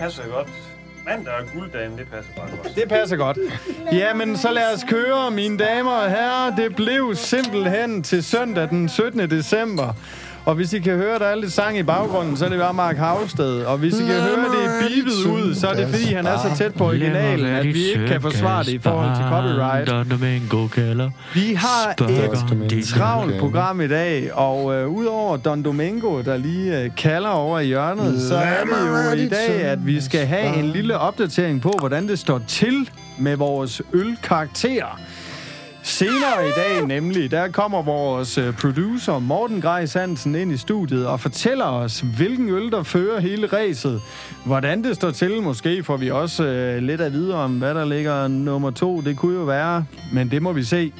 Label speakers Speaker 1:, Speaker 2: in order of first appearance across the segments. Speaker 1: passer godt. Mandag og gulddagen, det passer bare godt.
Speaker 2: Det passer godt. Jamen, så lad os køre, mine damer og herrer. Det blev simpelthen til søndag den 17. december. Og hvis I kan høre, der er lidt sang i baggrunden, så er det bare Mark Havsted. Og hvis I kan høre, det er bibet ud, så er det fordi, han er så tæt på originalen, at vi ikke kan forsvare det i forhold til copyright.
Speaker 3: Der med en god kælder.
Speaker 2: Vi har et
Speaker 3: Spørg-
Speaker 2: travlt program i dag, og øh, udover Don Domingo, der lige øh, kalder over i hjørnet, så er det jo i dag, at vi skal have en lille opdatering på, hvordan det står til med vores ølkarakterer. Senere i dag nemlig, der kommer vores øh, producer Morten Grejs Hansen ind i studiet og fortæller os, hvilken øl, der fører hele ræset. Hvordan det står til, måske får vi også øh, lidt at vide om, hvad der ligger nummer to. Det kunne jo være, men det må vi se.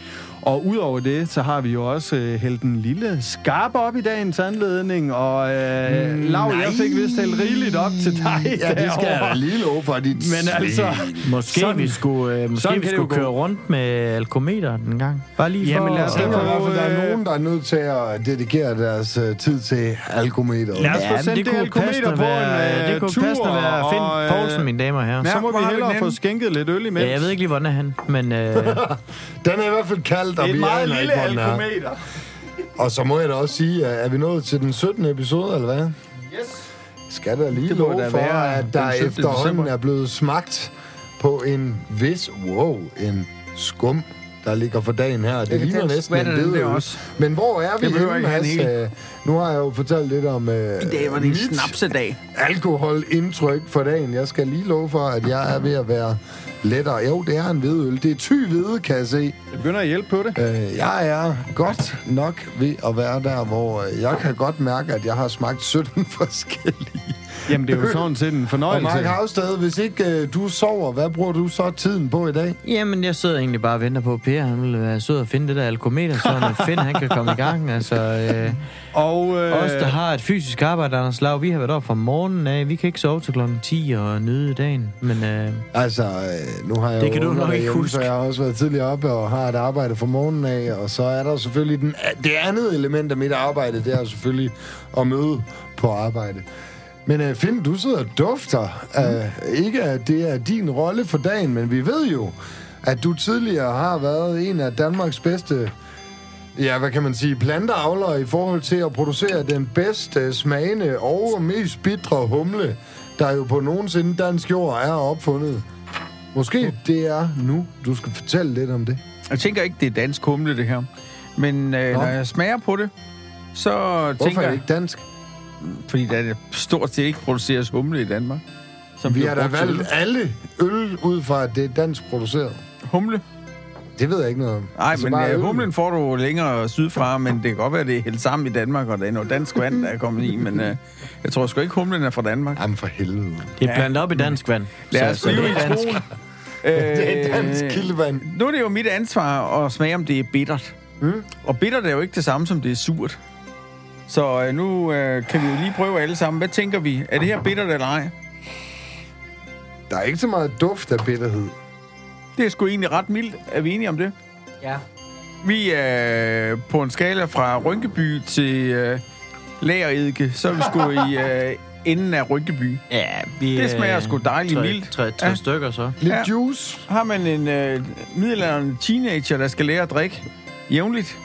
Speaker 2: Og udover det, så har vi jo også øh, hældt en lille skarp op i dagens anledning. Og øh, mm, Lav, jeg fik vist hældt rigeligt op til dig
Speaker 4: Ja, det skal jeg da
Speaker 2: derovre.
Speaker 4: lige love for, dit
Speaker 2: Men altså,
Speaker 3: Måske sådan, vi skulle, øh, måske
Speaker 2: sådan
Speaker 3: vi
Speaker 2: kan det
Speaker 3: skulle
Speaker 2: jo gå.
Speaker 3: køre rundt med alkometer den gang. Bare lige
Speaker 2: Jamen,
Speaker 3: for...
Speaker 2: lad os da
Speaker 4: Jeg tænker i
Speaker 2: få-
Speaker 4: hvert fald, der
Speaker 2: øh,
Speaker 4: er nogen, der er nødt til at dedikere deres øh, tid til alkometer.
Speaker 2: Lad os
Speaker 3: Ja,
Speaker 2: få
Speaker 3: men
Speaker 2: sendt
Speaker 3: det
Speaker 2: det
Speaker 3: kunne
Speaker 2: alkometer
Speaker 3: passende
Speaker 2: på
Speaker 3: være,
Speaker 2: en, øh,
Speaker 3: det kunne
Speaker 2: tur,
Speaker 3: passende være Finn
Speaker 2: og, øh,
Speaker 3: Poulsen, mine damer og herrer.
Speaker 2: så må
Speaker 1: hvor
Speaker 2: vi
Speaker 1: har vi
Speaker 2: hellere
Speaker 1: den
Speaker 2: få
Speaker 1: henne?
Speaker 2: skænket lidt øl imens.
Speaker 3: Ja, jeg ved ikke lige, hvordan er han, men øh,
Speaker 4: Den er i hvert fald kaldt, og
Speaker 2: Det er
Speaker 4: vi
Speaker 2: et meget
Speaker 4: aner
Speaker 2: lille
Speaker 4: ikke, hvor den er.
Speaker 2: alkometer.
Speaker 4: Og så må jeg da også sige, at er vi nået til den 17. episode, eller hvad?
Speaker 2: Yes.
Speaker 4: Skal der lige
Speaker 2: Det må
Speaker 4: love
Speaker 2: da
Speaker 4: for,
Speaker 2: være
Speaker 4: at
Speaker 2: den
Speaker 4: der
Speaker 2: 17.
Speaker 4: efterhånden
Speaker 2: december.
Speaker 4: er blevet smagt på en vis, wow, en skum, der ligger for dagen her. Det
Speaker 5: kan
Speaker 4: ligner
Speaker 5: tænke,
Speaker 4: næsten
Speaker 5: hvad
Speaker 4: en
Speaker 5: er det, den
Speaker 4: bedøvelse.
Speaker 5: der også?
Speaker 4: Men hvor er vi
Speaker 5: Jeg behøver
Speaker 4: henne,
Speaker 5: ikke have
Speaker 4: Mads?
Speaker 5: den hele.
Speaker 4: Øh, Nu har jeg jo fortalt lidt om øh,
Speaker 5: I dag var det en
Speaker 4: mit
Speaker 5: snapsedag.
Speaker 4: alkoholindtryk for dagen. Jeg skal lige love for, at jeg er ved at være lettere. Jo, det er en hvidøl. Det er ty hvide, kan jeg se.
Speaker 2: Jeg begynder at hjælpe på det.
Speaker 4: Øh, jeg er godt nok ved at være der, hvor øh, jeg kan godt mærke, at jeg har smagt 17 forskellige.
Speaker 2: Jamen, det er jo sådan set en
Speaker 4: Og
Speaker 2: fornøjelse.
Speaker 4: Mark Havsted, hvis ikke øh, du sover, hvad bruger du så tiden på i dag?
Speaker 3: jamen, jeg sidder egentlig bare og venter på, at Per han ville være sød og finde det der alkometer, så at Finn han kan komme i gang. Altså, øh,
Speaker 2: Og øh,
Speaker 3: os, der har et fysisk arbejde, Anders Lav, vi har været op fra morgenen af. Vi kan ikke sove til klokken 10 og nyde dagen, men øh,
Speaker 4: Altså, øh, nu har jeg
Speaker 3: Det
Speaker 4: jo
Speaker 3: kan du
Speaker 4: unger
Speaker 3: nok ikke
Speaker 4: derhjemme,
Speaker 3: huske.
Speaker 4: Så jeg har også været tidligere oppe og har et arbejde fra morgenen af. Og så er der jo selvfølgelig den, øh, det andet element af mit arbejde, det er jo selvfølgelig at møde på arbejde. Men øh, Finn, du sidder og dufter. Mm. Øh, ikke at det er din rolle for dagen, men vi ved jo, at du tidligere har været en af Danmarks bedste Ja, hvad kan man sige, planteavler i forhold til at producere den bedste smagende og mest bitre humle, der jo på nogensinde dansk jord er opfundet. Måske det er nu, du skal fortælle lidt om det.
Speaker 5: Jeg tænker ikke, det er dansk humle, det her. Men øh,
Speaker 4: Nå.
Speaker 5: når jeg smager på det, så
Speaker 4: Hvorfor
Speaker 5: tænker
Speaker 4: er det
Speaker 5: jeg...
Speaker 4: ikke dansk?
Speaker 5: Fordi der er det stort set ikke produceres humle i Danmark. Som
Speaker 4: Vi
Speaker 5: bliver
Speaker 4: har da
Speaker 5: brugt til
Speaker 4: valgt alle øl ud fra, at det er dansk produceret.
Speaker 5: Humle?
Speaker 4: Det ved jeg ikke noget om.
Speaker 5: Nej,
Speaker 4: Altså
Speaker 5: men
Speaker 4: bare
Speaker 5: øh,
Speaker 4: øl.
Speaker 5: humlen får du længere sydfra, men det kan godt være, det er helt sammen i Danmark, og det er noget dansk vand, der er kommet i, men øh, jeg tror sgu ikke, humlen er fra Danmark.
Speaker 4: Jamen for helvede.
Speaker 3: det er blandet op i dansk vand.
Speaker 5: Lad os
Speaker 3: så, så det
Speaker 5: blive i
Speaker 3: er dansk.
Speaker 5: troen.
Speaker 4: Det er dansk
Speaker 5: Øh,
Speaker 4: kildevand.
Speaker 5: Nu er det jo mit ansvar at smage, om det er bittert.
Speaker 4: Mm.
Speaker 5: Og bittert er jo ikke det samme, som det er surt. Så øh, nu øh, kan vi jo lige prøve alle sammen. Hvad tænker vi? Er det her bittert eller ej?
Speaker 4: Der er ikke så meget duft af bitterhed.
Speaker 5: Det er sgu egentlig ret mildt. Er vi enige om det?
Speaker 3: Ja.
Speaker 5: Vi er øh, på en skala fra Rynkeby til øh, Lageredike. Så er vi sgu i øh, enden af Rynkeby.
Speaker 3: Ja, vi,
Speaker 5: Det smager
Speaker 3: øh,
Speaker 5: sgu dejligt
Speaker 3: tre,
Speaker 5: mildt.
Speaker 3: Tre, tre
Speaker 5: Ja.
Speaker 3: ja. stykker så.
Speaker 4: Lidt
Speaker 5: Ja.
Speaker 4: ja. juice.
Speaker 5: Har man en øh, middelalderen teenager, der skal lære at drikke jævnligt,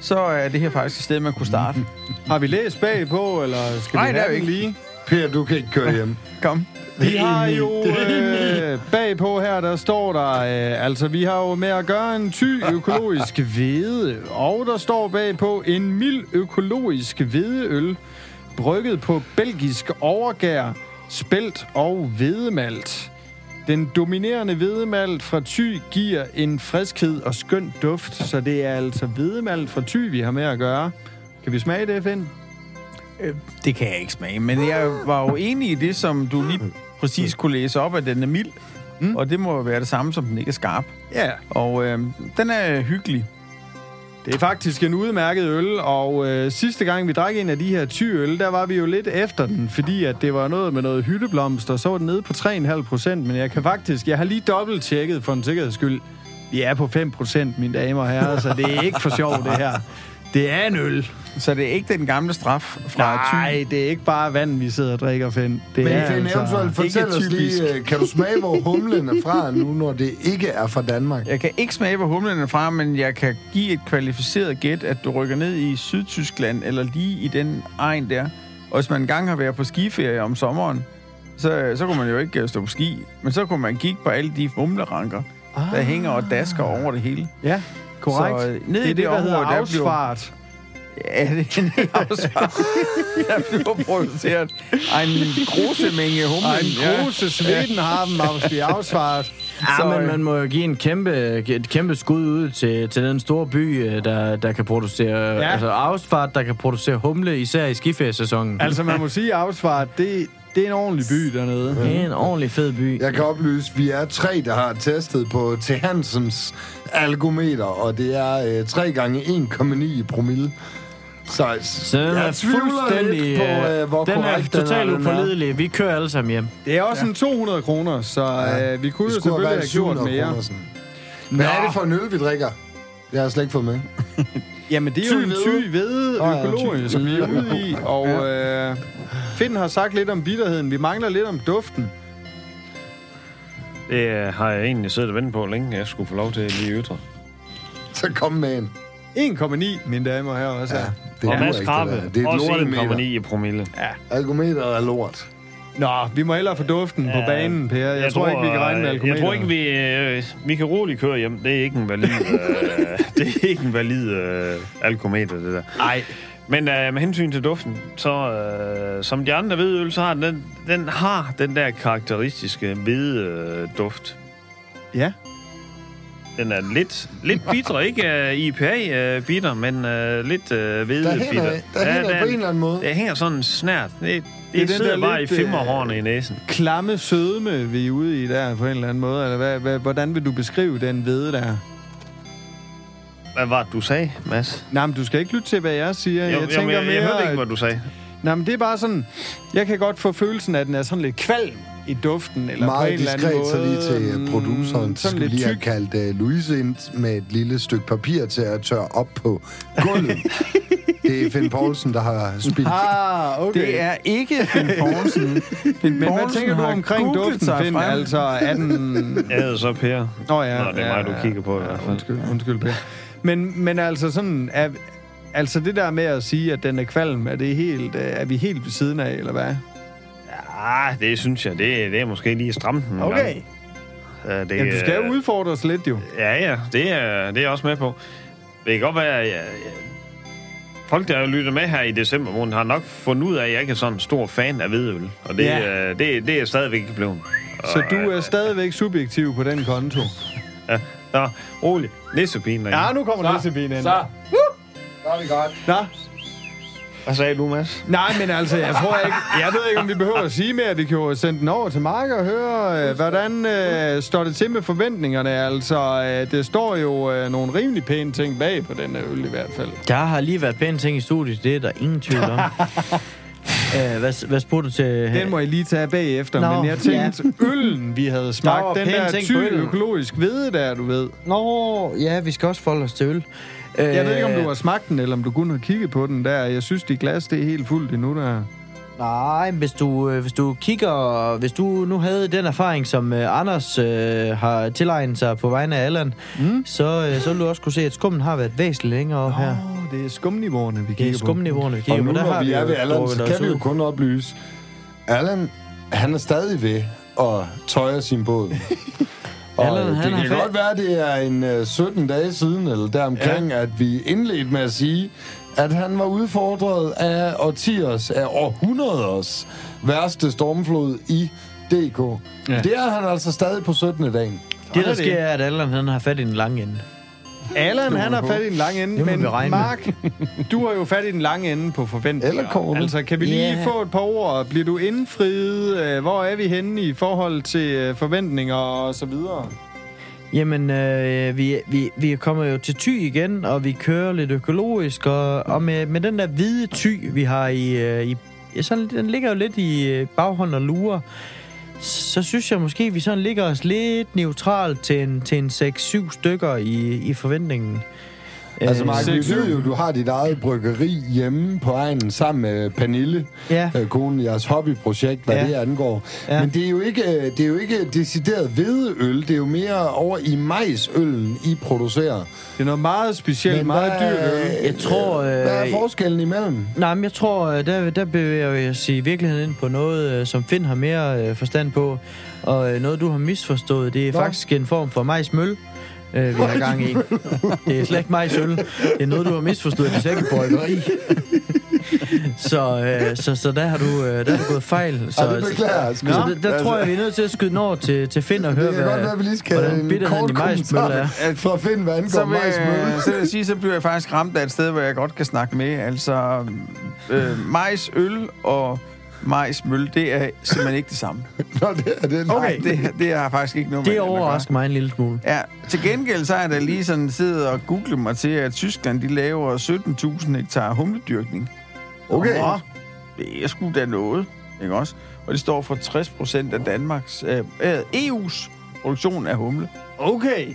Speaker 5: så er det her faktisk et sted, man kunne starte.
Speaker 2: har vi læst bagpå, eller skal
Speaker 5: Nej,
Speaker 2: vi
Speaker 5: det er
Speaker 2: have
Speaker 5: jo
Speaker 2: den
Speaker 5: ikke.
Speaker 2: lige?
Speaker 4: Per, du kan ikke køre hjem.
Speaker 5: Kom.
Speaker 2: Vi har jo øh, bagpå her, der står der, øh, altså vi har jo med at gøre en ty økologisk hvede, og der står bagpå en mild økologisk hvedeøl, brygget på belgisk overgær, spelt og hvedemalt. Den dominerende hvedemalt fra Thy giver en friskhed og skøn duft, så det er altså hvedemalt fra Thy, vi har med at gøre. Kan vi smage det, Finn?
Speaker 5: Øh, Det kan jeg ikke smage, men jeg var jo enig i det, som du lige præcis kunne læse op, at den er mild. Mm. Og det må jo være det samme, som den ikke er skarp.
Speaker 2: Ja. Yeah.
Speaker 5: Og øh, den er hyggelig.
Speaker 2: Det er faktisk en udmærket øl, og øh, sidste gang vi drak en af de her 20 øl, der var vi jo lidt efter den, fordi at det var noget med noget hytteblomst, og så var den nede på 3,5 procent, men jeg kan faktisk, jeg har lige dobbelt tjekket for en sikkerheds skyld. Vi er på 5 procent, mine damer og herrer, så det er ikke for sjov det her. Det er en øl.
Speaker 5: Så det er ikke den gamle straf fra Nej.
Speaker 2: Nej, det er ikke bare vand, vi sidder og drikker, Finn. Det
Speaker 4: Men
Speaker 2: er altså
Speaker 4: ja, Finn, eventuelt fortæl
Speaker 5: altså ikke
Speaker 4: os lige, øh, kan du smage, hvor humlen er fra nu, når det ikke er fra Danmark?
Speaker 5: Jeg kan ikke smage, hvor humlen er fra, men jeg kan give et kvalificeret gæt, at du rykker ned i Sydtyskland, eller lige i den egen der. Og hvis man engang har været på skiferie om sommeren, så, så kunne man jo ikke øh, stå på ski, men så kunne man kigge på alle de humleranker, ah. der hænger og dasker over det hele.
Speaker 2: Ja, korrekt.
Speaker 5: Så,
Speaker 2: Så,
Speaker 5: øh, ned
Speaker 2: det er
Speaker 5: i
Speaker 2: det,
Speaker 5: det
Speaker 2: der hedder
Speaker 5: område, der bliver-
Speaker 2: afsfart.
Speaker 5: Ja, det er en afsvar. Jeg blev produceret af en grosemænge humlen.
Speaker 2: Og en grose sveden har dem, Magnus, vi er afsvaret.
Speaker 5: Så,
Speaker 3: Ja,
Speaker 5: øh,
Speaker 3: men man må jo give en kæmpe, et kæmpe skud ud til, til den store by, øh, der, der kan producere... Ja. Altså Ausfahrt, der kan producere humle, især i skiferiesæsonen. Altså,
Speaker 2: Altså, man må sige, afsvaret, det, det er en ordentlig by dernede.
Speaker 3: det er en ordentlig fed by.
Speaker 4: Jeg kan oplyse, vi er tre, der har testet på T. Hansens algometer, og det er øh, 3 gange 1,9 i promille. Så,
Speaker 3: Så den er fuldstændig...
Speaker 4: på, øh, hvor
Speaker 3: den er
Speaker 4: korrekt den
Speaker 3: totalt
Speaker 4: den er.
Speaker 3: upålidelig. Vi kører alle sammen hjem.
Speaker 2: Det er også ja. en 200 kroner, så
Speaker 4: Ja.
Speaker 2: ja. øh, vi kunne
Speaker 4: Det
Speaker 2: jo
Speaker 4: skulle have
Speaker 2: selvfølgelig
Speaker 4: været
Speaker 2: have gjort
Speaker 4: 700
Speaker 2: mere.
Speaker 4: kroner sådan. Hvad er det for en øl, vi drikker? Det har jeg slet ikke fået med.
Speaker 2: Jamen, det er jo
Speaker 4: Ty
Speaker 2: en
Speaker 4: hvede.
Speaker 2: ty hvede
Speaker 4: Åh, ja, en
Speaker 2: økologisk, som vi er ude i. Og øh, Finn har sagt lidt om bitterheden. Vi mangler lidt om duften.
Speaker 1: Det øh, har jeg egentlig siddet og ventet på længe, jeg skulle få lov til at lige ytre.
Speaker 4: Så kom med en.
Speaker 2: 1,9, mine damer og herrer altså. også. Ja.
Speaker 4: Det
Speaker 1: og
Speaker 4: duer
Speaker 1: Mads
Speaker 4: ikke,
Speaker 1: Krabbe,
Speaker 4: det, der. det er et
Speaker 1: også
Speaker 4: lortemeter.
Speaker 1: 1,9 i promille. Ja,
Speaker 4: Algometeret er lort.
Speaker 2: Nå, vi må hellere få duften ja. på banen, Per. Jeg, jeg tror, ikke, vi kan regne med
Speaker 1: øh, Jeg
Speaker 2: alkometeret.
Speaker 1: tror ikke, vi, øh, vi kan roligt køre hjem. Det er ikke en valid, øh, det er ikke en valid øh, alkometer, det der.
Speaker 2: Nej.
Speaker 1: Men øh, med hensyn til duften, så øh, som de andre hvidøl, så har den, den, den har den der karakteristiske hvide øh, duft.
Speaker 2: Ja.
Speaker 1: Den er lidt, lidt bitter, ikke uh, IPA-bitter, men uh, lidt uh, hvide bitter.
Speaker 4: Der hænger, der
Speaker 1: Ja,
Speaker 4: hænger
Speaker 1: der-
Speaker 4: på en eller anden måde.
Speaker 1: Det hænger sådan snært. Det, det,
Speaker 2: er den
Speaker 1: det sidder
Speaker 2: der
Speaker 1: bare
Speaker 2: lidt, øh,
Speaker 1: i femmerhårene i næsen.
Speaker 2: Klamme sødme, vi er ude i der på en eller anden måde. Eller hvad, hvad, hvordan vil du beskrive den hvede der?
Speaker 1: Hvad var det, du sagde, Mads?
Speaker 2: Nej, men du skal ikke lytte til, hvad jeg siger.
Speaker 1: Jo,
Speaker 2: jeg tænker
Speaker 1: jeg,
Speaker 2: mere...
Speaker 1: jeg hørte ikke, hvad du sagde.
Speaker 2: Nej, men det er bare sådan... Jeg kan godt få følelsen af, at den er sådan lidt kvalm i duften. Eller på
Speaker 4: Meget
Speaker 2: en eller anden
Speaker 4: diskret,
Speaker 2: måde.
Speaker 4: så lige til
Speaker 2: mm,
Speaker 4: øh, produceren,
Speaker 2: Sådan
Speaker 4: mm, skulle
Speaker 2: lidt
Speaker 4: lige have
Speaker 2: tyk.
Speaker 4: kaldt uh, Louise ind med et lille stykke papir til at tørre op på gulvet. det er Finn Poulsen, der har spildt.
Speaker 2: Ah, okay.
Speaker 5: Det er ikke Finn Poulsen. Finn
Speaker 2: Men hvad
Speaker 5: Poulsen
Speaker 2: tænker du
Speaker 5: har
Speaker 2: omkring
Speaker 5: googlet
Speaker 2: duften,
Speaker 5: sig
Speaker 2: Finn?
Speaker 5: frem.
Speaker 2: Altså, er den...
Speaker 1: Jeg hedder så Per.
Speaker 2: Nå ja.
Speaker 1: Nå, det er
Speaker 2: ja,
Speaker 1: mig, du
Speaker 2: ja,
Speaker 1: kigger på i
Speaker 2: Ja,
Speaker 1: hvert fald.
Speaker 2: undskyld, undskyld, Per. Men, men altså sådan, er, altså det der med at sige, at den er kvalm, er, det helt, øh, er vi helt ved siden af, eller hvad?
Speaker 1: Ah, det synes jeg, det, det er måske lige stramt en gang. Uh, det,
Speaker 2: Jamen, du skal
Speaker 1: øh,
Speaker 2: jo udfordre os lidt, jo.
Speaker 1: Ja, ja, det er, det er jeg også med på. Det kan godt være, at jeg, jeg, folk, der lytter med her i december måned, har nok fundet ud af, at jeg ikke er sådan en stor fan af hvidøl. Og det,
Speaker 2: Ja.
Speaker 1: ja. det, det er jeg stadigvæk ikke blevet. øh,
Speaker 2: Så du er stadigvæk subjektiv på den konto.
Speaker 1: Ja, nå, rolig. Nissepin derinde.
Speaker 2: Ja, nu kommer nissebien ind.
Speaker 4: Så er det godt.
Speaker 2: Nå,
Speaker 1: Hvad sagde du, Mads?
Speaker 2: nej, men altså, jeg tror ikke... Jeg ved ikke, om vi behøver at sige mere. Vi kan jo sende den over til Mark og høre, øh, hvordan øh, står det til med forventningerne. Altså, øh, det står jo øh, nogle rimelig pæne ting bag på den her øl i hvert fald.
Speaker 3: Der har lige været pæne ting i studiet, det er der ingen tvivl om. Æh, hvad, hvad spurgte du til?
Speaker 2: Den må jeg lige tage bagefter,
Speaker 3: Nå,
Speaker 2: Nå, men jeg tænkte, ja. øllen, vi havde
Speaker 3: Nå,
Speaker 2: smagt, den
Speaker 3: pæne
Speaker 2: der
Speaker 3: ting
Speaker 2: ty
Speaker 3: på øllen.
Speaker 2: økologisk hvede der, du ved.
Speaker 3: Nå, ja, vi skal også folde os til øl. Øh,
Speaker 2: Jeg ved ikke, om du har smagt den, eller om du kun har kigget på den der. Jeg synes, dit glas, det er helt fuldt endnu der.
Speaker 3: Nej, men hvis du, øh, hvis du kigger... Hvis du nu havde den erfaring, som øh, Anders øh, har tilegnet sig på vegne af Allan, mm. så, øh, så ville du også kunne se, at skummen har været væsentligt længere op her.
Speaker 2: Åh, det er skumniveauerne, vi
Speaker 3: Det er
Speaker 2: kigger på.
Speaker 3: skumniveauerne, vi
Speaker 4: Og
Speaker 3: kigger
Speaker 4: nu,
Speaker 3: på. Der
Speaker 4: når
Speaker 3: har
Speaker 4: vi er
Speaker 3: jo
Speaker 4: ved Allan,
Speaker 3: drukket
Speaker 4: så
Speaker 3: os
Speaker 4: kan vi
Speaker 3: ud.
Speaker 4: jo kun oplyse. Allan, han er stadig ved at tøje sin båd. Og
Speaker 3: Allan,
Speaker 4: Allan,
Speaker 3: han
Speaker 4: det
Speaker 3: har
Speaker 4: kan
Speaker 3: fa-
Speaker 4: godt være, at det er en øh, 17 dage siden, eller deromkring, ja. at vi indledte med at sige, at han var udfordret af årtiers, af århundreders værste stormflod i DK. Ja. Det er han altså stadig på 17. dagen.
Speaker 3: Det, der
Speaker 2: Sådan er det.
Speaker 3: sker, er, at Allan han har fat i den lange ende.
Speaker 2: Allan, han har fat i den lange ende,
Speaker 3: Det må
Speaker 2: men
Speaker 3: vi regne med.
Speaker 2: Mark, du har jo fat i den lange ende på forventninger.
Speaker 4: Eller korte.
Speaker 2: Altså, kan vi lige
Speaker 3: Ja.
Speaker 2: yeah. få et par ord? Bliver du indfriet? Øh, Hvor er vi henne i forhold til øh, forventninger og så videre?
Speaker 3: Jamen, øh, vi, vi, vi kommer jo til ty igen, og vi kører lidt økologisk, og, og med, med den der hvide ty, vi har i... Øh, i ja, sådan, den ligger jo lidt i øh, baghånd og lurer. Så synes jeg måske, vi sådan ligger os lidt neutralt til en, til en 6-7 stykker i, i forventningen.
Speaker 4: Altså, Mark, vi
Speaker 5: seks,
Speaker 4: ved jo, du har dit eget bryggeri hjemme på egnen sammen med Pernille,
Speaker 3: Ja.
Speaker 4: øh, konen, jeres hobbyprojekt, hvad
Speaker 3: Ja.
Speaker 4: det angår.
Speaker 3: Ja.
Speaker 4: Men det er, jo ikke, øh, det er jo ikke decideret hvedeøl, det er jo mere over i majsøllen, I producerer.
Speaker 2: Det er noget meget specielt,
Speaker 4: Men
Speaker 2: meget
Speaker 4: hvad
Speaker 2: dyrt.
Speaker 4: er-
Speaker 2: øl.
Speaker 3: Jeg tror, øh,
Speaker 4: Hvad er forskellen imellem?
Speaker 3: Nej, men jeg tror, øh, der, der bevæger jeg os i virkeligheden ind på noget, øh, som Finn har mere øh, forstand på. Og øh, noget, du har misforstået, det er Nå. faktisk en form for majsmøl, øh, vi har gang i. Det er slet ikke majsøl. Det er noget, du har misforstået, hvis jeg ikke bryggeri. så, øh, så, så der har du, øh, der har du gået fejl. Så, altså-
Speaker 4: Så, det beklager jeg. sgu.
Speaker 3: så, så der, der tror jeg, vi er nødt til at skyde den over til, til Finn og høre,
Speaker 4: Det kan godt være, vi lige skal
Speaker 3: hvordan
Speaker 4: have en
Speaker 3: bitterheden
Speaker 4: kort
Speaker 3: i majsmøl er.
Speaker 4: kommentar fra Finn, hvad angår
Speaker 5: Så vil,
Speaker 4: majsmøl.
Speaker 5: jeg, øh, så vil jeg sige, så bliver jeg faktisk ramt af et sted, hvor jeg godt kan snakke med. Altså, øh, majsøl og majsmøl, det er simpelthen ikke det samme.
Speaker 4: Nå, det er det.
Speaker 5: Nej, det, det har faktisk ikke noget med
Speaker 3: Det
Speaker 5: at gøre.
Speaker 3: overrasker mig en lille smule.
Speaker 5: Ja, til gengæld så er der lige sådan siddet og googlet mig til, at Tyskland de laver 17.000 hektar humledyrkning.
Speaker 4: Okay.
Speaker 5: Nå, det er sgu da noget, ikke også? Og det står for 60 procent af Danmarks, øh, øh, EU's produktion af humle.
Speaker 2: Okay.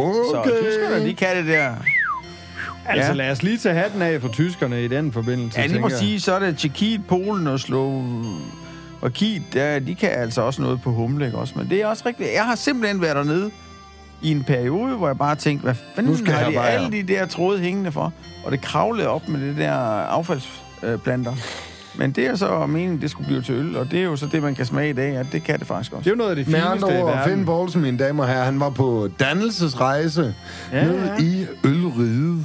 Speaker 5: Så tyskerne, de kan det der.
Speaker 2: Altså,
Speaker 5: Ja.
Speaker 2: lad os lige tage hatten af for tyskerne i den forbindelse,
Speaker 5: Ja, lige må
Speaker 2: tænker jeg.
Speaker 5: sige, så er det Tjekkiet, Polen og Slovakiet, der, de kan altså også noget på humle, ikke også? Men det er også rigtigt. Jeg har simpelthen været dernede i en periode, hvor jeg bare tænkte, hvad fanden
Speaker 4: skal
Speaker 5: har
Speaker 4: jeg
Speaker 5: de
Speaker 4: bare-
Speaker 5: alle de der tråde hængende for? Og det kravlede op med det der affaldsplanter. Men det er så meningen, det skulle blive til øl, og det er jo så det, man kan smage i dag, at det kan det faktisk
Speaker 2: Det er
Speaker 5: også.
Speaker 2: jo noget af det
Speaker 4: Med
Speaker 2: fineste
Speaker 4: andre
Speaker 2: i
Speaker 4: ord, Finn
Speaker 2: verden.
Speaker 4: Poulsen, mine damer og herrer, han var på dannelsesrejse ja, ned
Speaker 2: ja.
Speaker 4: i Ølride.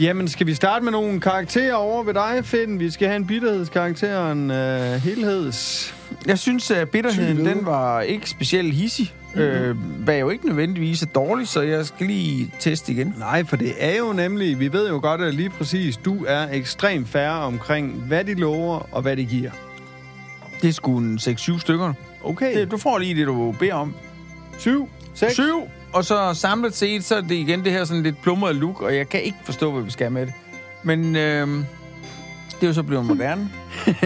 Speaker 2: Jamen, skal vi starte med nogle karakterer over ved dig, Finn? Vi skal have en bitterhedskarakter og en øh, helheds...
Speaker 5: Jeg synes, at bitterheden,
Speaker 4: Tyk Mhm. ved.
Speaker 5: den var ikke specielt hissig. Øh, hvad jo ikke nødvendigvis er dårligt, så jeg skal lige teste igen.
Speaker 2: Nej, for det er jo nemlig... Vi ved jo godt, at lige præcis du er ekstremt færre omkring, hvad de lover og hvad de giver.
Speaker 5: Det er sgu en 6-7 stykker.
Speaker 2: Okay.
Speaker 5: Det, du får lige det, du beder om.
Speaker 2: Syv, seks.
Speaker 5: Syv, og så samlet set, så er det igen det her sådan lidt plumrede look, og jeg kan ikke forstå, hvad vi skal med det. Men øh, det er jo så blevet moderne,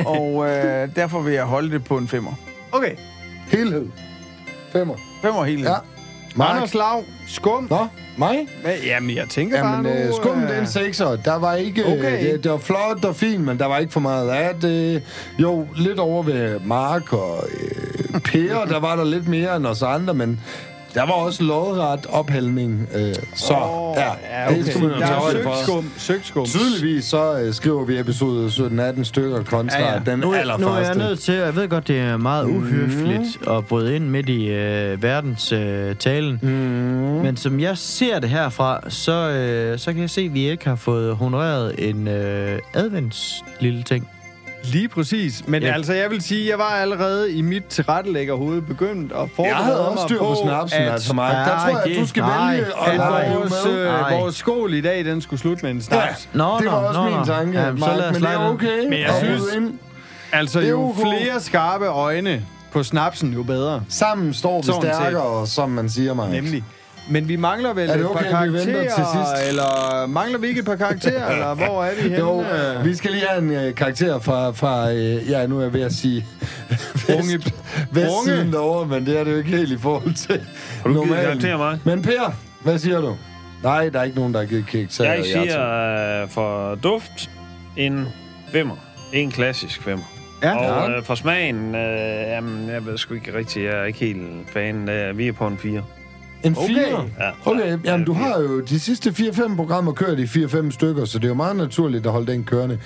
Speaker 5: og øh, derfor vil jeg holde det på en femmer.
Speaker 2: Okay.
Speaker 4: Helhed. Femmer.
Speaker 5: Femmer hele.
Speaker 4: Ja.
Speaker 5: Ja.
Speaker 4: Mark.
Speaker 2: Anders Lav, skum.
Speaker 4: Nå, mig?
Speaker 2: Hvad- Jamen, jeg tænker
Speaker 4: Jamen,
Speaker 2: bare
Speaker 4: øh,
Speaker 2: nu...
Speaker 4: skummen,
Speaker 2: øh,
Speaker 4: den sekser. Der var ikke...
Speaker 2: Okay.
Speaker 4: Okay. Det, det var flot og fint, men der var ikke for meget af det. Jo, lidt over ved Mark og øh, Per, der var der lidt mere end os andre, men der var også lodret ophældning. Øh, så,
Speaker 2: Åh,
Speaker 4: oh, ja, ja
Speaker 2: okay.
Speaker 4: det skulle man jo
Speaker 2: Der
Speaker 4: tage
Speaker 2: er
Speaker 4: højde
Speaker 2: søgt
Speaker 4: for.
Speaker 2: skum. Søgt skum.
Speaker 4: Tydeligvis så øh, skriver vi episode 17-18 stykker kontra
Speaker 5: Ja,
Speaker 4: ja,
Speaker 5: ja.
Speaker 4: ja. den
Speaker 3: Nu, er- nu er jeg
Speaker 4: allerførste.
Speaker 3: nødt til, jeg ved godt, det er meget
Speaker 4: Mhm.
Speaker 3: uhøfligt at bryde ind midt i øh, verdens øh, talen, mm.
Speaker 4: Mhm.
Speaker 3: men som jeg ser det herfra, så, øh, så kan jeg se, at vi ikke har fået honoreret en øh, advents lille ting.
Speaker 2: Lige præcis. Men
Speaker 3: Ja.
Speaker 2: ja. altså, jeg vil sige, jeg var allerede i mit tilrettelægger hoved begyndt at forberede
Speaker 4: Jeg havde
Speaker 2: mig
Speaker 4: også styr på snapsen,
Speaker 2: at,
Speaker 4: altså Mark. Der
Speaker 3: Nej,
Speaker 4: tror jeg, at du
Speaker 3: det-
Speaker 4: skal
Speaker 3: nej,
Speaker 4: vælge
Speaker 3: det
Speaker 4: at
Speaker 2: at
Speaker 3: var
Speaker 4: lade
Speaker 3: jo
Speaker 4: være
Speaker 2: vores,
Speaker 4: med.
Speaker 2: øh,
Speaker 3: Nej.
Speaker 2: vores skål i dag, den skulle slutte med en snaps.
Speaker 3: Nå,
Speaker 4: det var
Speaker 3: nå,
Speaker 4: også
Speaker 3: nå,
Speaker 4: min
Speaker 3: nå.
Speaker 4: tanke,
Speaker 3: Jamen, så
Speaker 4: Mark,
Speaker 3: lad os
Speaker 4: men det er
Speaker 3: lade den.
Speaker 4: okay.
Speaker 2: Men jeg
Speaker 4: Og
Speaker 2: synes-
Speaker 4: ryd ind.
Speaker 2: Ja. Altså,
Speaker 4: Det er
Speaker 2: jo
Speaker 4: ok.
Speaker 2: flere skarpe øjne på snapsen, jo bedre.
Speaker 4: Sammen står vi
Speaker 2: Sådan set.
Speaker 4: stærkere, som man siger, Mark.
Speaker 2: Nemlig. Men vi mangler vel
Speaker 4: Er det
Speaker 2: et
Speaker 4: okay,
Speaker 2: par
Speaker 4: at vi venter til
Speaker 2: karakterer,
Speaker 4: sidst?
Speaker 2: eller mangler vi ikke et par karakterer, eller hvor er vi henne?
Speaker 4: Jo,
Speaker 2: Øh,
Speaker 4: vi skal lige have en øh, karakter fra, fra øh, ja, nu er jeg ved at sige
Speaker 2: Brunge.
Speaker 4: vest, vestsiden
Speaker 2: Brunge.
Speaker 4: derovre, men det er det jo ikke helt i forhold til
Speaker 1: Har du givet karakter, Mark?
Speaker 4: Men Per, hvad siger du? Nej, der er ikke nogen, der har givet karakter. altså.
Speaker 1: Jeg siger øh, for duft en femmer. En klassisk femmer.
Speaker 2: Ja,
Speaker 1: Og
Speaker 2: ja.
Speaker 1: øh, for smagen, øh, jamen, jeg ved sgu ikke rigtigt, jeg er ikke helt fan. Øh, vi er på en fire.
Speaker 4: En
Speaker 2: Okay.
Speaker 4: fire?
Speaker 1: Ja. Øh,
Speaker 4: Okay, jamen du
Speaker 1: fire.
Speaker 4: har jo de sidste 4-5 programmer kørt i 4-5 stykker, så det er jo meget naturligt at holde den kørende.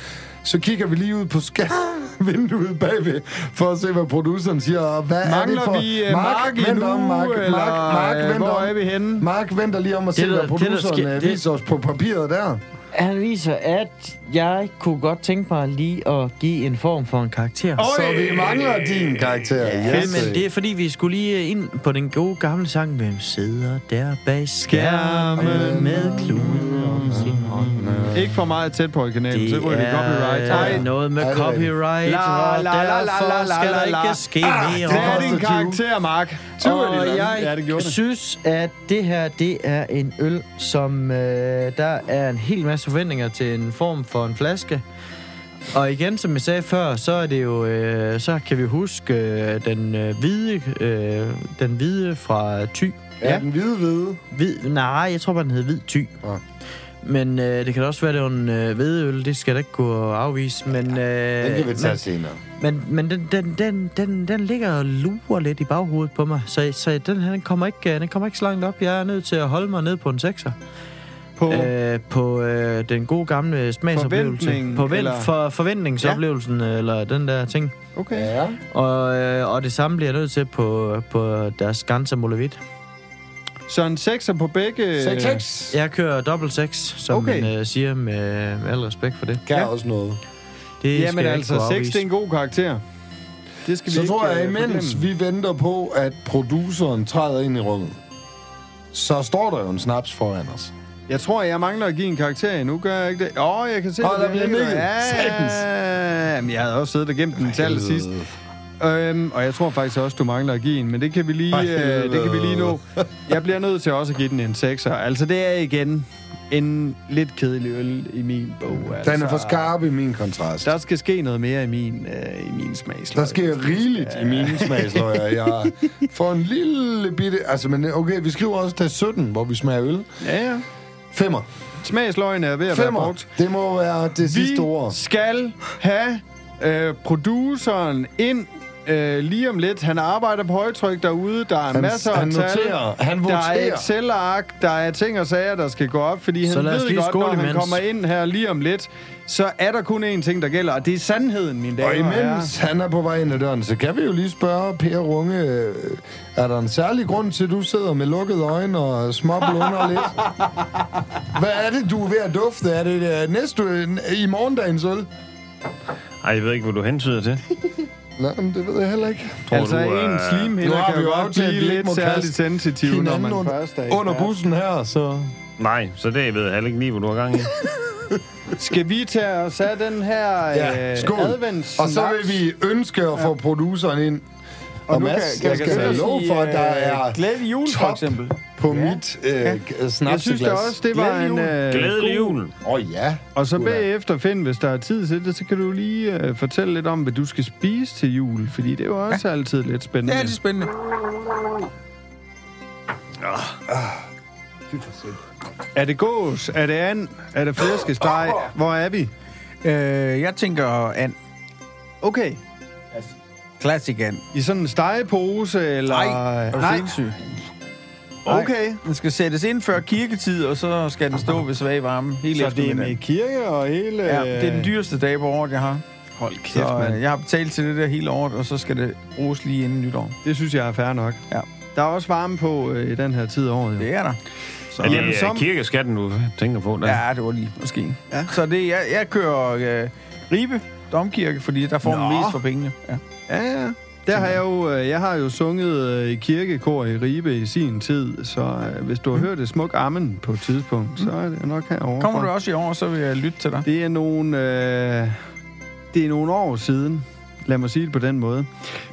Speaker 4: Så kigger vi lige ud på skærmvinduet bagved, for at se, hvad produceren siger. Og hvad er det
Speaker 2: Mangler
Speaker 4: for...
Speaker 2: vi øh, Mark, i
Speaker 4: vent
Speaker 2: nu,
Speaker 4: om, Mark,
Speaker 2: eller
Speaker 4: Mark, Mark,
Speaker 2: øh,
Speaker 4: vent
Speaker 2: hvor
Speaker 4: om.
Speaker 2: er vi henne?
Speaker 4: Mark venter lige om at se,
Speaker 3: Det, der-
Speaker 4: hvad
Speaker 3: det, der
Speaker 4: produceren
Speaker 3: sker-
Speaker 4: øh,
Speaker 3: det-
Speaker 4: viser os på papiret der.
Speaker 3: Han viser, at jeg kunne godt tænke mig lige at give en form for en karakter.
Speaker 2: Åh,
Speaker 4: Så vi mangler din karakter.
Speaker 3: Ja,
Speaker 4: Yes.
Speaker 2: altså-
Speaker 3: men det er fordi, vi skulle lige øh, ind på den gode gamle sang. Hvem sidder der bag skærmen med kluden om sin hånd?
Speaker 2: Ikke for meget tæt på i kanalen, så
Speaker 3: Det
Speaker 2: ryger det copyright.
Speaker 3: er øh,
Speaker 2: Nej,
Speaker 3: noget med
Speaker 4: Ja, det er rigtigt.
Speaker 3: copyright,
Speaker 2: La, la,
Speaker 3: og
Speaker 2: la, la, la,
Speaker 3: derfor
Speaker 2: la,
Speaker 3: skal
Speaker 2: la,
Speaker 3: der
Speaker 2: la. Ah,
Speaker 3: ikke ske mere.
Speaker 2: det er din
Speaker 4: Koster
Speaker 2: karakter, Mark. Tyv af de
Speaker 3: Og
Speaker 2: lande.
Speaker 3: jeg
Speaker 2: ja, det gjorde det.
Speaker 3: synes, at det her, det er en øl, som øh, der er en hel masse forventninger til en form for en flaske. Og igen, som jeg sagde før, så er det jo, øh, så kan vi huske øh, den øh, hvide, øh, den hvide fra Thy.
Speaker 4: Ja, den hvide hvide.
Speaker 3: Hvid, nej, jeg tror bare, den hed Hvid Thy.
Speaker 4: Nå.
Speaker 3: Men øh, det kan da også være, det er en øh, hvedeøl. Det skal da ikke kunne afvise. Men, øh,
Speaker 4: Den kan vi tage
Speaker 3: men,
Speaker 4: senere.
Speaker 3: men, men den, den, den, den, den ligger og lurer lidt i baghovedet på mig. Så, så den, her, den, kommer ikke, øh, den kommer ikke så langt op. Jeg er nødt til at holde mig ned på en sekser.
Speaker 2: På, øh,
Speaker 3: Øh, på øh, den gode gamle smagsoplevelse.
Speaker 2: Forventningen,
Speaker 3: På ven,
Speaker 2: eller-
Speaker 3: for, forventningsoplevelsen, ja. eller den der ting.
Speaker 2: okay.
Speaker 4: Ja.
Speaker 3: Og, øh, og det samme bliver jeg nødt til på, på deres Gansa Molovit.
Speaker 2: Så en sekser på begge...
Speaker 4: 6
Speaker 3: Jeg kører dobbelt 6, som
Speaker 2: Okay.
Speaker 3: okay. man øh, siger med, med al respekt for det.
Speaker 4: kan
Speaker 2: Ja.
Speaker 4: også noget.
Speaker 3: det skal
Speaker 2: Jamen
Speaker 3: jeg ikke
Speaker 2: altså,
Speaker 3: kunne
Speaker 2: 6 det er en god karakter. Det skal
Speaker 4: Så
Speaker 2: vi
Speaker 4: tror
Speaker 2: ikke,
Speaker 4: jeg,
Speaker 2: øh,
Speaker 4: imens
Speaker 2: forglemme.
Speaker 4: vi venter på, at produceren træder ind i rummet, så står der jo en snaps foran os.
Speaker 2: Jeg tror, jeg mangler at give en karakter endnu, gør jeg ikke det? Åh, oh, jeg kan se,
Speaker 4: Åh,
Speaker 2: det
Speaker 4: der bliver nikket.
Speaker 2: Ja,
Speaker 4: Satans.
Speaker 2: ja, Jamen, jeg havde også siddet og gemt den til sidst. Øhm, og jeg tror faktisk også, du mangler at give en, men det kan vi lige,
Speaker 4: For
Speaker 2: øh, det kan vi lige nå.
Speaker 4: helvede.
Speaker 2: Jeg bliver nødt til også at give den en 6'er. Altså, det er igen en lidt kedelig øl i min bog. Altså,
Speaker 4: Den er for skarp i min kontrast.
Speaker 2: Der skal ske noget mere i min, øh, i min smagsløg.
Speaker 4: Der sker rigeligt i mine smagsløger. Jeg får en lille bitte... Altså, men okay, vi skriver også til 17, hvor vi smager øl.
Speaker 2: Ja, ja.
Speaker 4: Femmer.
Speaker 2: Smagsløgene er ved at være
Speaker 4: Femmer.
Speaker 2: brugt.
Speaker 4: Det må være det sidste
Speaker 2: Vi
Speaker 4: ord.
Speaker 2: skal have øh, produceren ind øh, lige om lidt. Han arbejder på højtryk derude. Der er
Speaker 4: Han-
Speaker 2: masser
Speaker 4: han
Speaker 2: af tal.
Speaker 4: noterer. Han
Speaker 2: der er
Speaker 4: voterer.
Speaker 2: Excel-ark. Der er ting og sager, der skal gå op, fordi
Speaker 3: Så
Speaker 2: han
Speaker 3: lad os
Speaker 2: ved
Speaker 3: lige
Speaker 2: godt, når
Speaker 3: skåle
Speaker 2: han
Speaker 3: imens.
Speaker 2: kommer ind her lige om lidt, så er der kun én ting, der gælder, og det er sandheden, mine damer
Speaker 4: Og
Speaker 2: herrer.
Speaker 4: imens han er på vej ind ad døren, så kan vi jo lige spørge Per Runge, øh, er der en særlig grund til, at du sidder med lukkede øjne og småblunder lidt? Hvad er det, du er ved at dufte? Er det øh, næste øh, i morgendagens øl?
Speaker 1: Ej, jeg ved ikke, hvad du hentyder til.
Speaker 4: Nej, men det ved jeg heller ikke.
Speaker 1: Tror
Speaker 2: altså,
Speaker 1: du,
Speaker 2: en
Speaker 1: øh,
Speaker 4: nu
Speaker 2: slimhinder
Speaker 4: har
Speaker 2: kan
Speaker 4: vi
Speaker 2: jo
Speaker 4: jo
Speaker 2: godt blive
Speaker 4: aftalt, at vi ikke
Speaker 2: lidt
Speaker 4: må kaste
Speaker 2: særligt sensitiv, når
Speaker 4: Hinanden
Speaker 2: man
Speaker 4: under,
Speaker 2: først er
Speaker 4: under
Speaker 2: ekspert.
Speaker 4: bussen her, så...
Speaker 1: Nej, så det ved jeg heller ikke lige, hvor du har gang i.
Speaker 2: Øh, Skal vi tage os af den her
Speaker 4: Ja,
Speaker 2: øh,
Speaker 4: skål.
Speaker 2: advents
Speaker 4: Og så vil vi ønske at få produceren ind. Og, og
Speaker 5: nu
Speaker 4: Mads,
Speaker 5: kan-
Speaker 4: jeg
Speaker 5: kan-
Speaker 4: kan,
Speaker 5: kan-
Speaker 4: kan love for, at der
Speaker 5: øh,
Speaker 4: er
Speaker 5: Glædelig jul, for
Speaker 4: top
Speaker 5: eksempel.
Speaker 4: på mit øh, snapseglas.
Speaker 2: Jeg synes da også, det var
Speaker 5: Glædelig
Speaker 2: en... Øh,
Speaker 1: Glædelig jul.
Speaker 4: Åh oh, ja.
Speaker 2: Og så
Speaker 4: Sgu da.
Speaker 2: bagefter, Finn, hvis der er tid til det, så kan du lige øh, fortælle lidt om, hvad du skal spise til jul. Fordi det er jo også ja. altid lidt
Speaker 5: Det
Speaker 2: spændende.
Speaker 5: er altid spændende.
Speaker 2: er det gås? Er det and? Er det flæskesteg? Hvor er vi?
Speaker 5: Øh, jeg tænker an.
Speaker 2: Okay.
Speaker 5: Classic an.
Speaker 2: I sådan en stegepose, eller...
Speaker 5: Nej, er du
Speaker 2: Nej.
Speaker 5: sindssyg?
Speaker 2: Okay.
Speaker 5: Den skal sættes ind før kirketid, og så skal den stå ved svag varme hele
Speaker 2: Så det er med
Speaker 5: eftermiddagen.
Speaker 2: kirke og hele...
Speaker 5: Ja, det er den dyreste dag på året, jeg har.
Speaker 2: Hold kæft,
Speaker 5: Så
Speaker 2: mand.
Speaker 5: øh, jeg har betalt til det der hele året, og så skal det bruges lige inden nytår.
Speaker 2: Det synes jeg er fair nok.
Speaker 5: Ja.
Speaker 2: Der er også varme på øh, i den her tid af året. Jo.
Speaker 5: Det er der. Så,
Speaker 1: Er det
Speaker 2: Jamen,
Speaker 1: øh,
Speaker 2: som-
Speaker 1: kirkeskatten, du tænker på? Der?
Speaker 5: ja, det var lige måske. Ja. Så det, jeg, jeg kører øh, Ribe Domkirke, fordi der
Speaker 2: Nå.
Speaker 5: får man mest for pengene. Ja.
Speaker 2: Ja, ja. Der har jeg jo, øh, jeg har jo sunget øh, i kirkekor i Ribe i sin tid, så øh, hvis du har hørt det smuk ammen på et tidspunkt, så er det nok herovre.
Speaker 5: Kommer du også i år, så vil jeg lytte til dig.
Speaker 2: Det er nogle, øh, det er nogle år siden. Lad mig sige det på den måde.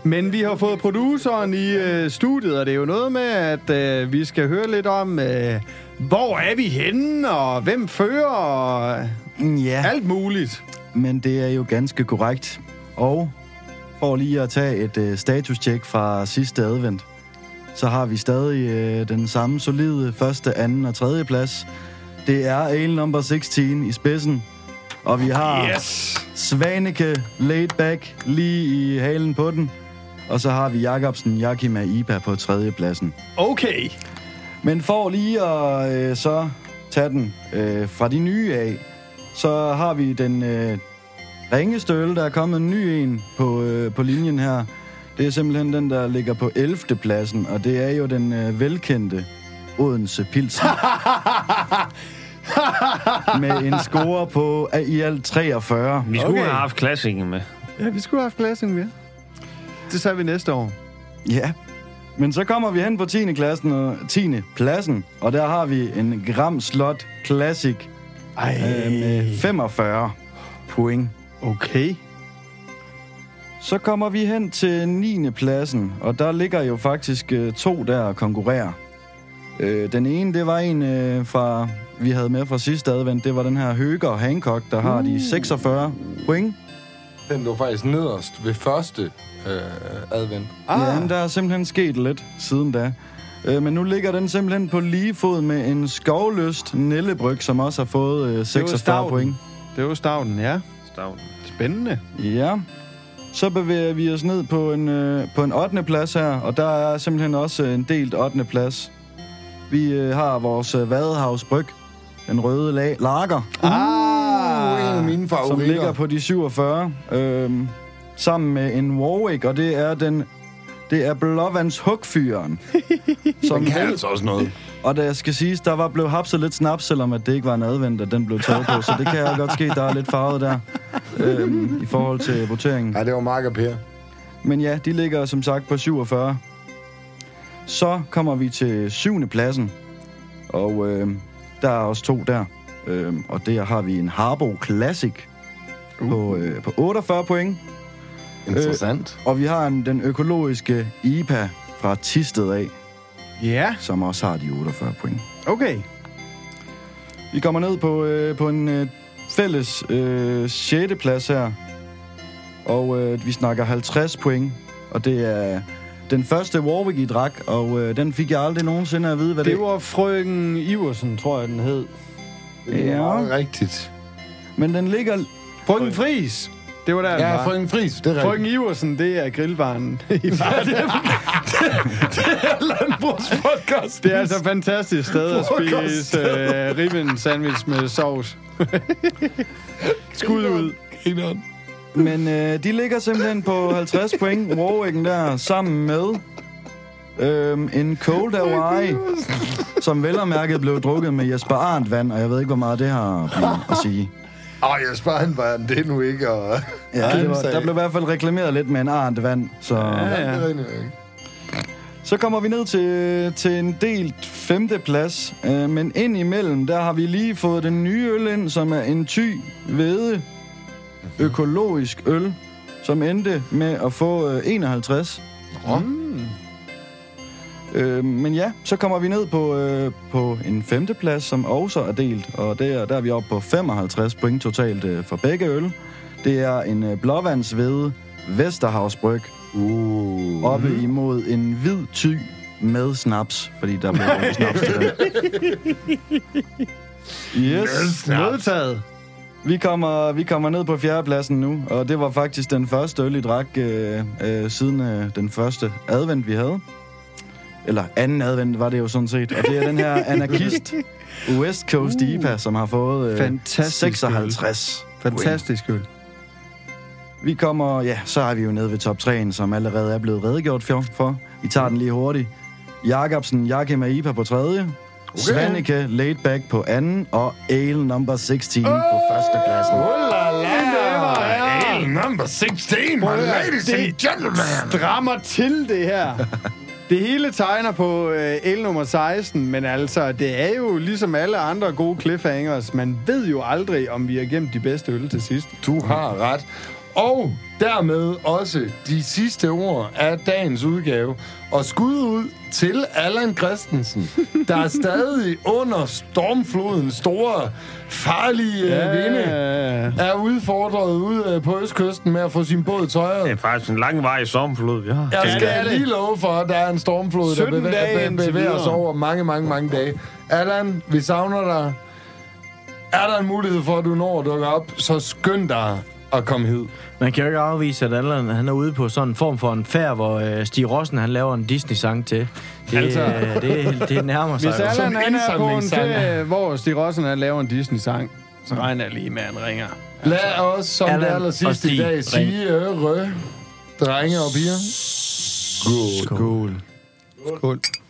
Speaker 2: Men vi har fået produceren i øh, studiet, og det er jo noget med, at øh, vi skal høre lidt om, øh, hvor er vi henne, og hvem fører, og
Speaker 6: Ja,
Speaker 2: alt muligt.
Speaker 6: men det er jo ganske korrekt. Og for lige at tage et øh, status-check fra sidste advent, så har vi stadig øh, den samme solide første, anden og tredje plads. Det er ale number 16 i spidsen. Og vi har yes! Svaneke laid back lige i halen på den. Og så har vi Jacobsen Jakima Iba på tredje pladsen.
Speaker 2: Okay.
Speaker 6: Men for lige at øh, så tage den øh, fra de nye af, så har vi den øh, ringeste øl, der er kommet en ny en på, øh, på linjen her. Det er simpelthen den, der ligger på 11. pladsen, og det er jo den øh, velkendte Odense Pilsen. med en score på øh, i alt 43.
Speaker 1: Vi skulle
Speaker 2: Okay.
Speaker 1: have haft klassikken med.
Speaker 2: Ja, vi skulle have haft glasning mere. Det tager vi næste år.
Speaker 6: Ja. Men så kommer vi hen på 10. klassen og 10. pladsen, og der har vi en Gram Slot Classic
Speaker 2: Ej.
Speaker 6: øh, med 45 point.
Speaker 2: Okay.
Speaker 6: Så kommer vi hen til 9. pladsen, og der ligger jo faktisk øh, to der og konkurrerer. Øh, den ene, det var en øh, fra, vi havde med fra sidste advent, det var den her Høger Hancock, der har de 46 point.
Speaker 4: Den lå faktisk nederst ved første øh, advent.
Speaker 6: Ah. Ja, men der er simpelthen sket lidt siden da. Øh, men nu ligger den simpelthen på lige fod med en skovløst Nellebryg, som også har fået øh, 46
Speaker 2: Stauden.
Speaker 6: point.
Speaker 2: Det var stavnen, ja.
Speaker 1: Stavn.
Speaker 2: Spændende.
Speaker 6: Ja. Så bevæger vi os ned på en, øh, på en 8. plads her, og der er simpelthen også øh, en delt 8. plads. Vi øh, har vores øh, Vadehavs Bryg, den røde la- lager,
Speaker 4: Ah, Uh, en af mine
Speaker 6: som
Speaker 4: favoritter.
Speaker 6: ligger på de 47, øh, sammen med en Warwick, og det er den det er Blåvands Hugfyren. som
Speaker 4: Den kan
Speaker 6: vel-
Speaker 4: altså også noget.
Speaker 6: og der skal siges, der var blevet hapset lidt snaps, selvom at det ikke var en advent, at den blev taget på. Så det kan jo godt ske, der er lidt farvet der øhm, i forhold til voteringen.
Speaker 4: Ja, det var Mark og Per.
Speaker 6: Men ja, de ligger som sagt på 47. Så kommer vi til syvende pladsen. Og øh, der er også to der. Øh, og der har vi en Harbo Classic uh. på, øh, på 48 point.
Speaker 4: Interessant.
Speaker 6: Og vi har en, den økologiske IPA fra Tisted af,
Speaker 2: Ja,
Speaker 6: som også har de 48 point.
Speaker 2: okay.
Speaker 6: Vi kommer ned på, øh, på en øh, fælles øh, 6. plads her. Og øh, vi snakker 50 point. Og det er den første Warwick i drak, og øh, den fik jeg aldrig nogensinde at vide, hvad det,
Speaker 2: Det var frøken Iversen, tror jeg, den hed.
Speaker 4: Det er
Speaker 6: Ja.
Speaker 4: meget rigtigt.
Speaker 6: Men den ligger...
Speaker 2: Frøken Fris. Det var der, den
Speaker 4: Ja,
Speaker 2: var.
Speaker 4: Frøken Friis, det er
Speaker 2: Frøken
Speaker 4: rigtigt.
Speaker 2: Iversen, det er grillbaren. det, det, det, det, det er altså et fantastisk sted at spise øh, ribben sandwich med sovs. Skud ud.
Speaker 6: Men øh, de ligger simpelthen på 50 point, Warwicken der, sammen med øhm, en Cold Hawaii, som vel og mærket blev drukket med Jesper Arndt vand, og jeg ved ikke, hvor meget det har at- at sige.
Speaker 4: Åh, jeg sparer en bare, det er nu ikke. Og...
Speaker 6: Ja, det var,
Speaker 4: Kæmpe sag.
Speaker 6: der blev i hvert fald reklameret lidt med en Arndt vand, så...
Speaker 4: Ja. Det er rigtigt, ikke?
Speaker 6: Så kommer vi ned til, til en delt femteplads, øh, men ind imellem, der har vi lige fået den nye øl ind, som er en ty hvede økologisk øl, som endte med at få øh, 51. Mm. Øh, men ja, så kommer vi ned på, øh, på en femteplads, som også er delt, og der, der er vi oppe på 55 point totalt øh, for begge øl. Det er en øh, blåvandsvede Vesterhavsbryg,
Speaker 4: Uh.
Speaker 6: oppe imod en hvid ty med snaps, fordi der blev brugt snaps til den. Yes.
Speaker 2: Modtaget.
Speaker 6: Vi kommer, vi kommer ned på fjerdepladsen nu, og det var faktisk den første øl, I drak øh, øh, siden øh, den første advent, vi havde. Eller anden advent var det jo sådan set. Og det er den her anarkist West Coast uh, IPA, som har fået øh,
Speaker 2: Fantastisk øl.
Speaker 6: 56.
Speaker 2: Fantastisk øl.
Speaker 6: Vi kommer, ja, så er vi jo nede ved top 3'en, som allerede er blevet redegjort for. for. Vi tager den lige hurtigt. Jakobsen, Jakim og Ipa på tredje. Okay. Svanike, Laid Back på anden. Og Ale number 16 oh! på førstepladsen.
Speaker 4: Hey, number 16, my
Speaker 2: Prøv at høre,
Speaker 4: ladies
Speaker 2: det-
Speaker 4: and gentlemen.
Speaker 2: Strammer til det her. Det hele tegner på øh, el nummer 16, men altså, det er jo ligesom alle andre gode cliffhangers. Man ved jo aldrig, om vi har gemt de bedste øl til sidst.
Speaker 4: Du har ret. Og dermed også de sidste ord af dagens udgave. Og skud ud til Allan Christensen, der er stadig under stormflodens store, farlige yeah. vinde,
Speaker 2: Øh,
Speaker 4: er udfordret ude øh, på østkysten med at få sin båd
Speaker 1: Det
Speaker 4: tøjet.
Speaker 1: er faktisk en lang vej i sommerflod, vi har.
Speaker 4: Jeg
Speaker 2: det er
Speaker 4: skal
Speaker 2: det.
Speaker 4: lige love for, at der er en stormflod, der
Speaker 2: 17 dage
Speaker 4: bevæger,
Speaker 2: indtil
Speaker 4: bevæger sig
Speaker 2: videre.
Speaker 4: over mange, mange, mange dage. Allan, vi savner dig. Er der en mulighed for, at du når at dukke op, så skynd dig at komme hid.
Speaker 3: Man kan jo ikke afvise, at Allan, han er ude på sådan en form for en fær, hvor øh, Stig Rossen han laver en Disney-sang til. Det,
Speaker 1: Altså.
Speaker 3: altså. øh, det, det nærmer sig
Speaker 2: hvis
Speaker 3: jo.
Speaker 2: Allan han er på en
Speaker 4: indsamlingssang.
Speaker 2: ferie, hvor Stig Rossen han laver en Disney-sang, så regner jeg lige med, at han ringer.
Speaker 4: Lad os som
Speaker 3: Allan
Speaker 4: det aller
Speaker 3: Altså, og
Speaker 4: sidste i
Speaker 3: Stig
Speaker 4: dag
Speaker 3: Ring.
Speaker 4: sige øh, rø, drenge og piger.
Speaker 2: Skål. Skål.